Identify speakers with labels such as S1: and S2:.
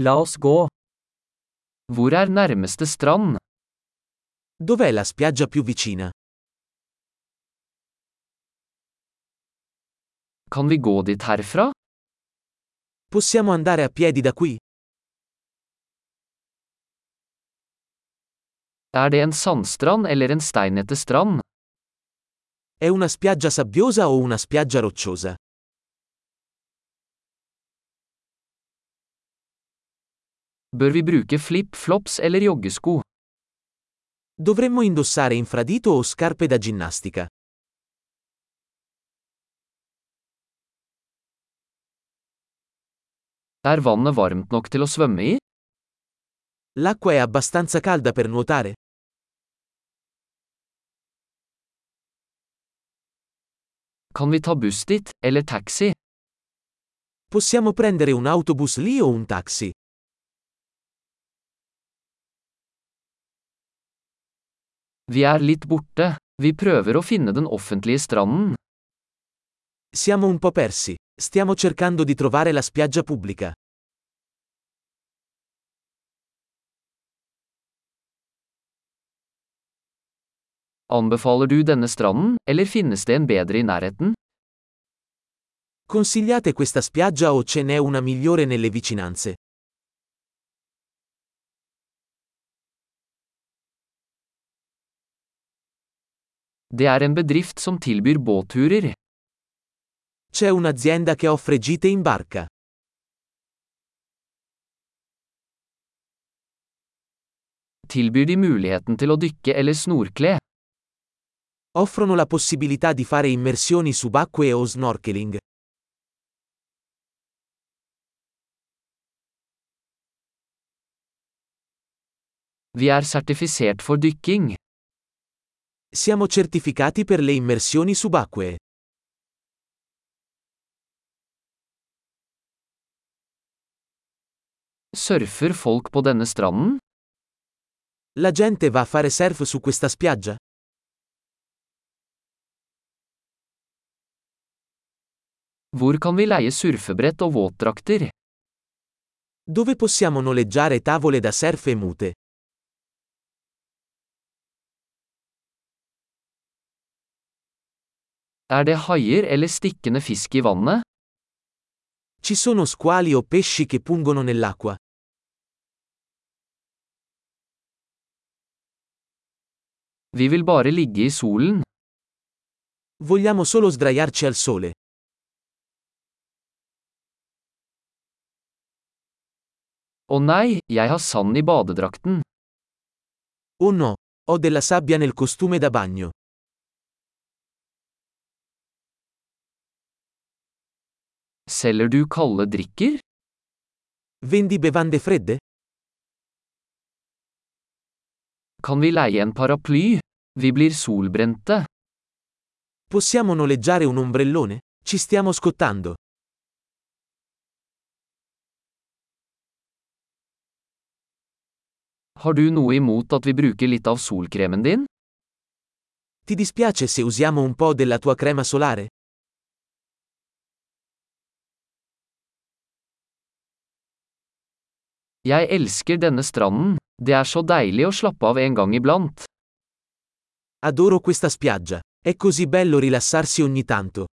S1: La oss gå. Hvor er nærmeste strand?
S2: Dov'è la spiaggia più vicina?
S1: Kan vi gå dit herfra?
S2: Possiamo andare a piedi da qui?
S1: Er det en sandstrand eller en steinete strand?
S2: È una spiaggia sabbiosa o una spiaggia rocciosa?
S1: Bør vi bruke flip-flops eller joggesko?
S2: Dovremmo indossare infradito o scarpe da ginnastica.
S1: Er vannet varmt nok til å svømme i?
S2: L'acqua è abbastanza calda per nuotare?
S1: Kan vi ta buss dit, eller taxi?
S2: Possiamo prendere un autobus lì o un taxi?
S1: Vi er litt borte. Vi prøver å finne den offentlige stranden.
S2: Siamo un po' persi. Stiamo cercando di trovare la spiaggia pubblica.
S1: Anbefaler du denne stranden, eller finnes det en bedre i nærheten?
S2: Consigliate questa spiaggia o ce n'è una migliore nelle vicinanze?
S1: Det er en bedrift som tilbyr båtturer.
S2: C'è un'azienda che offre gite in barca.
S1: Tilbyr de muligheten til å dykke eller snorkle?
S2: Offrono la possibilità di fare immersioni subacquee o snorkeling.
S1: Vi er sertifisert for dykking.
S2: Siamo certificati per le immersioni subacquee.
S1: Surfer folk på denne stranden?
S2: La gente va a fare surf su questa spiaggia?
S1: Hvor kan vi leie surfebrett og våtdrakter?
S2: Dove possiamo noleggiare tavole da surf e mute?
S1: Er det haier eller stikkende fisk i vannet?
S2: Ci sono squali o pesci che pungono nell'acqua?
S1: Vi vil bare ligge i solen.
S2: Vogliamo solo sdraiarci al sole.
S1: Å nei, jeg har sand i badedrakten.
S2: Oh no, ho della sabbia nel costume da bagno.
S1: Selger du kalde drikker?
S2: Vendi bevande fredde?
S1: Kan vi leie en paraply? Vi blir solbrente.
S2: Possiamo noleggiare un ombrellone? Ci stiamo scottando.
S1: Har du noe imot at vi bruker litt av solkremen din?
S2: Ti dispiace se usiamo un po' della tua crema solare?
S1: Jeg elsker denne stranden. Det er så deilig å slappe av en gang iblant.
S2: Adoro questa spiaggia. È così bello rilassarsi ogni tanto.